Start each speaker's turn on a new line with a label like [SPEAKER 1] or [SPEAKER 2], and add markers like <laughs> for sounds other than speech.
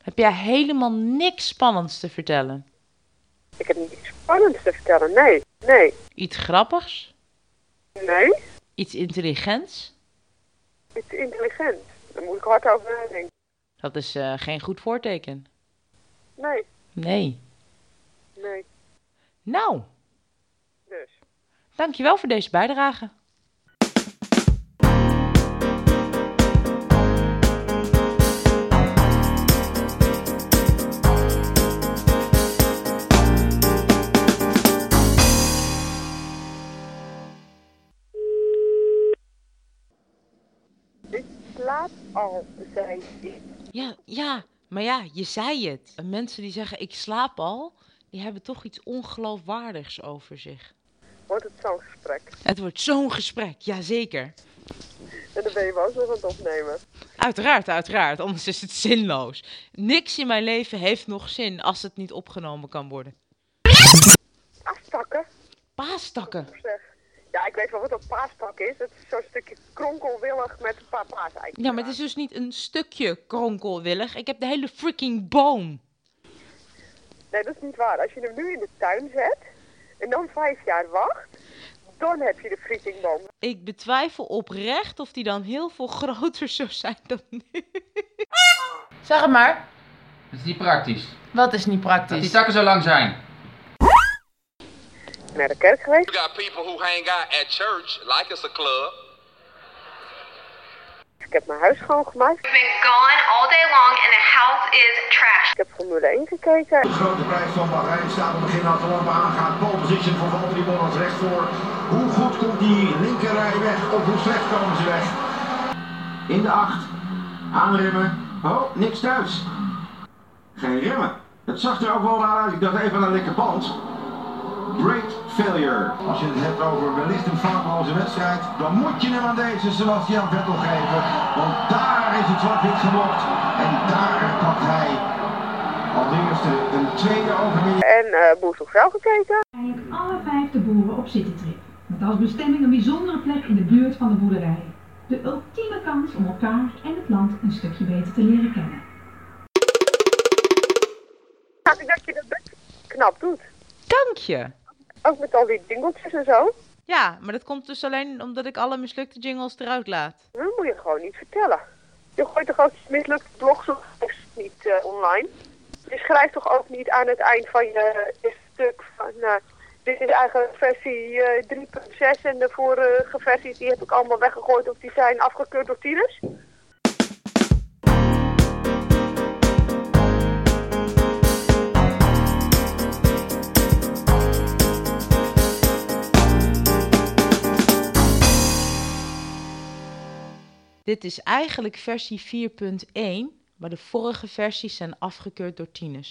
[SPEAKER 1] Heb jij helemaal niks spannends te vertellen?
[SPEAKER 2] Ik heb niets spannends te vertellen. Nee, nee,
[SPEAKER 1] Iets grappigs?
[SPEAKER 2] nee.
[SPEAKER 1] Iets intelligents?
[SPEAKER 2] Het is intelligent. Daar moet ik hard over nadenken.
[SPEAKER 1] Dat is eh, geen goed voorteken.
[SPEAKER 2] Nee,
[SPEAKER 1] Nee.
[SPEAKER 2] nee.
[SPEAKER 1] Nou,
[SPEAKER 2] Dus.
[SPEAKER 1] dankjewel voor deze bijdrage.
[SPEAKER 2] Ik slaap al, zei ik.
[SPEAKER 1] Ja, ja, maar ja, je zei het. Mensen die zeggen ik slaap al, die hebben toch iets ongeloofwaardigs over zich.
[SPEAKER 2] Wordt het zo'n gesprek?
[SPEAKER 1] Het wordt zo'n gesprek, jazeker.
[SPEAKER 2] En dan ben je wel eens nog aan het opnemen.
[SPEAKER 1] Uiteraard, uiteraard, anders is het zinloos. Niks in mijn leven heeft nog zin als het niet opgenomen kan worden.
[SPEAKER 2] Aftakken,
[SPEAKER 1] Paastakken.
[SPEAKER 2] zeg. Ja, ik weet wel wat een paastak is. Het is zo'n stukje kronkelwillig met een paar paaseitjes.
[SPEAKER 1] Ja, maar het is dus niet een stukje kronkelwillig. Ik heb de hele freaking boom.
[SPEAKER 2] eraan. Nee, dat is niet waar. Als je hem nu in de tuin zet en dan vijf jaar wacht, dan heb je de frietingboom.
[SPEAKER 1] Ik betwijfel oprecht of die dan heel veel <laughs> groter zou zijn dan nu. Zeg het maar,
[SPEAKER 3] Dat is niet praktisch.
[SPEAKER 1] wat is niet
[SPEAKER 3] Dat die
[SPEAKER 1] praktisch?
[SPEAKER 3] takken zo lang zijn.
[SPEAKER 2] Naar de kerk geweest?
[SPEAKER 4] You got people who hang out at church like it's a club.
[SPEAKER 2] Ik heb mijn huis schoongemaakt.
[SPEAKER 5] We've been gone all day long and the house is trashed.
[SPEAKER 2] Ik heb Formule 1 gekeken.
[SPEAKER 6] De grote prijs van Bahrein staat op begin achter Lampen aangaat. Pole position voor Valtteri Bottas recht voor. Hoe goed komt die linkerrij weg of hoe slecht komen ze weg? In de acht. Aanremmen. Oh, niks thuis. Geen remmen. Het zag er ook wel naar uit. Ik dacht even een lekker band. Great failure. Als je het hebt over wellicht een foutloze wedstrijd, dan moet je hem aan deze Sebastian Vettel geven. Want daar is het zwart-wit geblokt. En daar pakt hij als eerste een tweede overwinning.
[SPEAKER 2] En eh Boer zoekt vrouw gekeken.
[SPEAKER 7] Eigenlijk alle vijf de boeren op citytrip. Met als bestemming een bijzondere plek in de buurt van de boerderij. De ultieme kans om elkaar en het land een stukje beter te leren kennen.
[SPEAKER 2] Ja, ik dat je dat best knap doet.
[SPEAKER 1] Dank je.
[SPEAKER 2] Ook met al die dingeltjes en zo.
[SPEAKER 1] Ja, maar dat komt dus alleen omdat ik alle mislukte jingles eruit laat.
[SPEAKER 2] Dat moet je gewoon niet vertellen. Je gooit toch ook mislukt blogs of blogs niet eh, online? Je schrijft toch ook niet aan het eind van je, je stuk van... eh, dit is eigenlijk versie eh, 3.6 en de vorige versies die heb ik allemaal weggegooid of die zijn afgekeurd door tieners.
[SPEAKER 1] Dit is eigenlijk versie 4.1, maar de vorige versies zijn afgekeurd door tieners.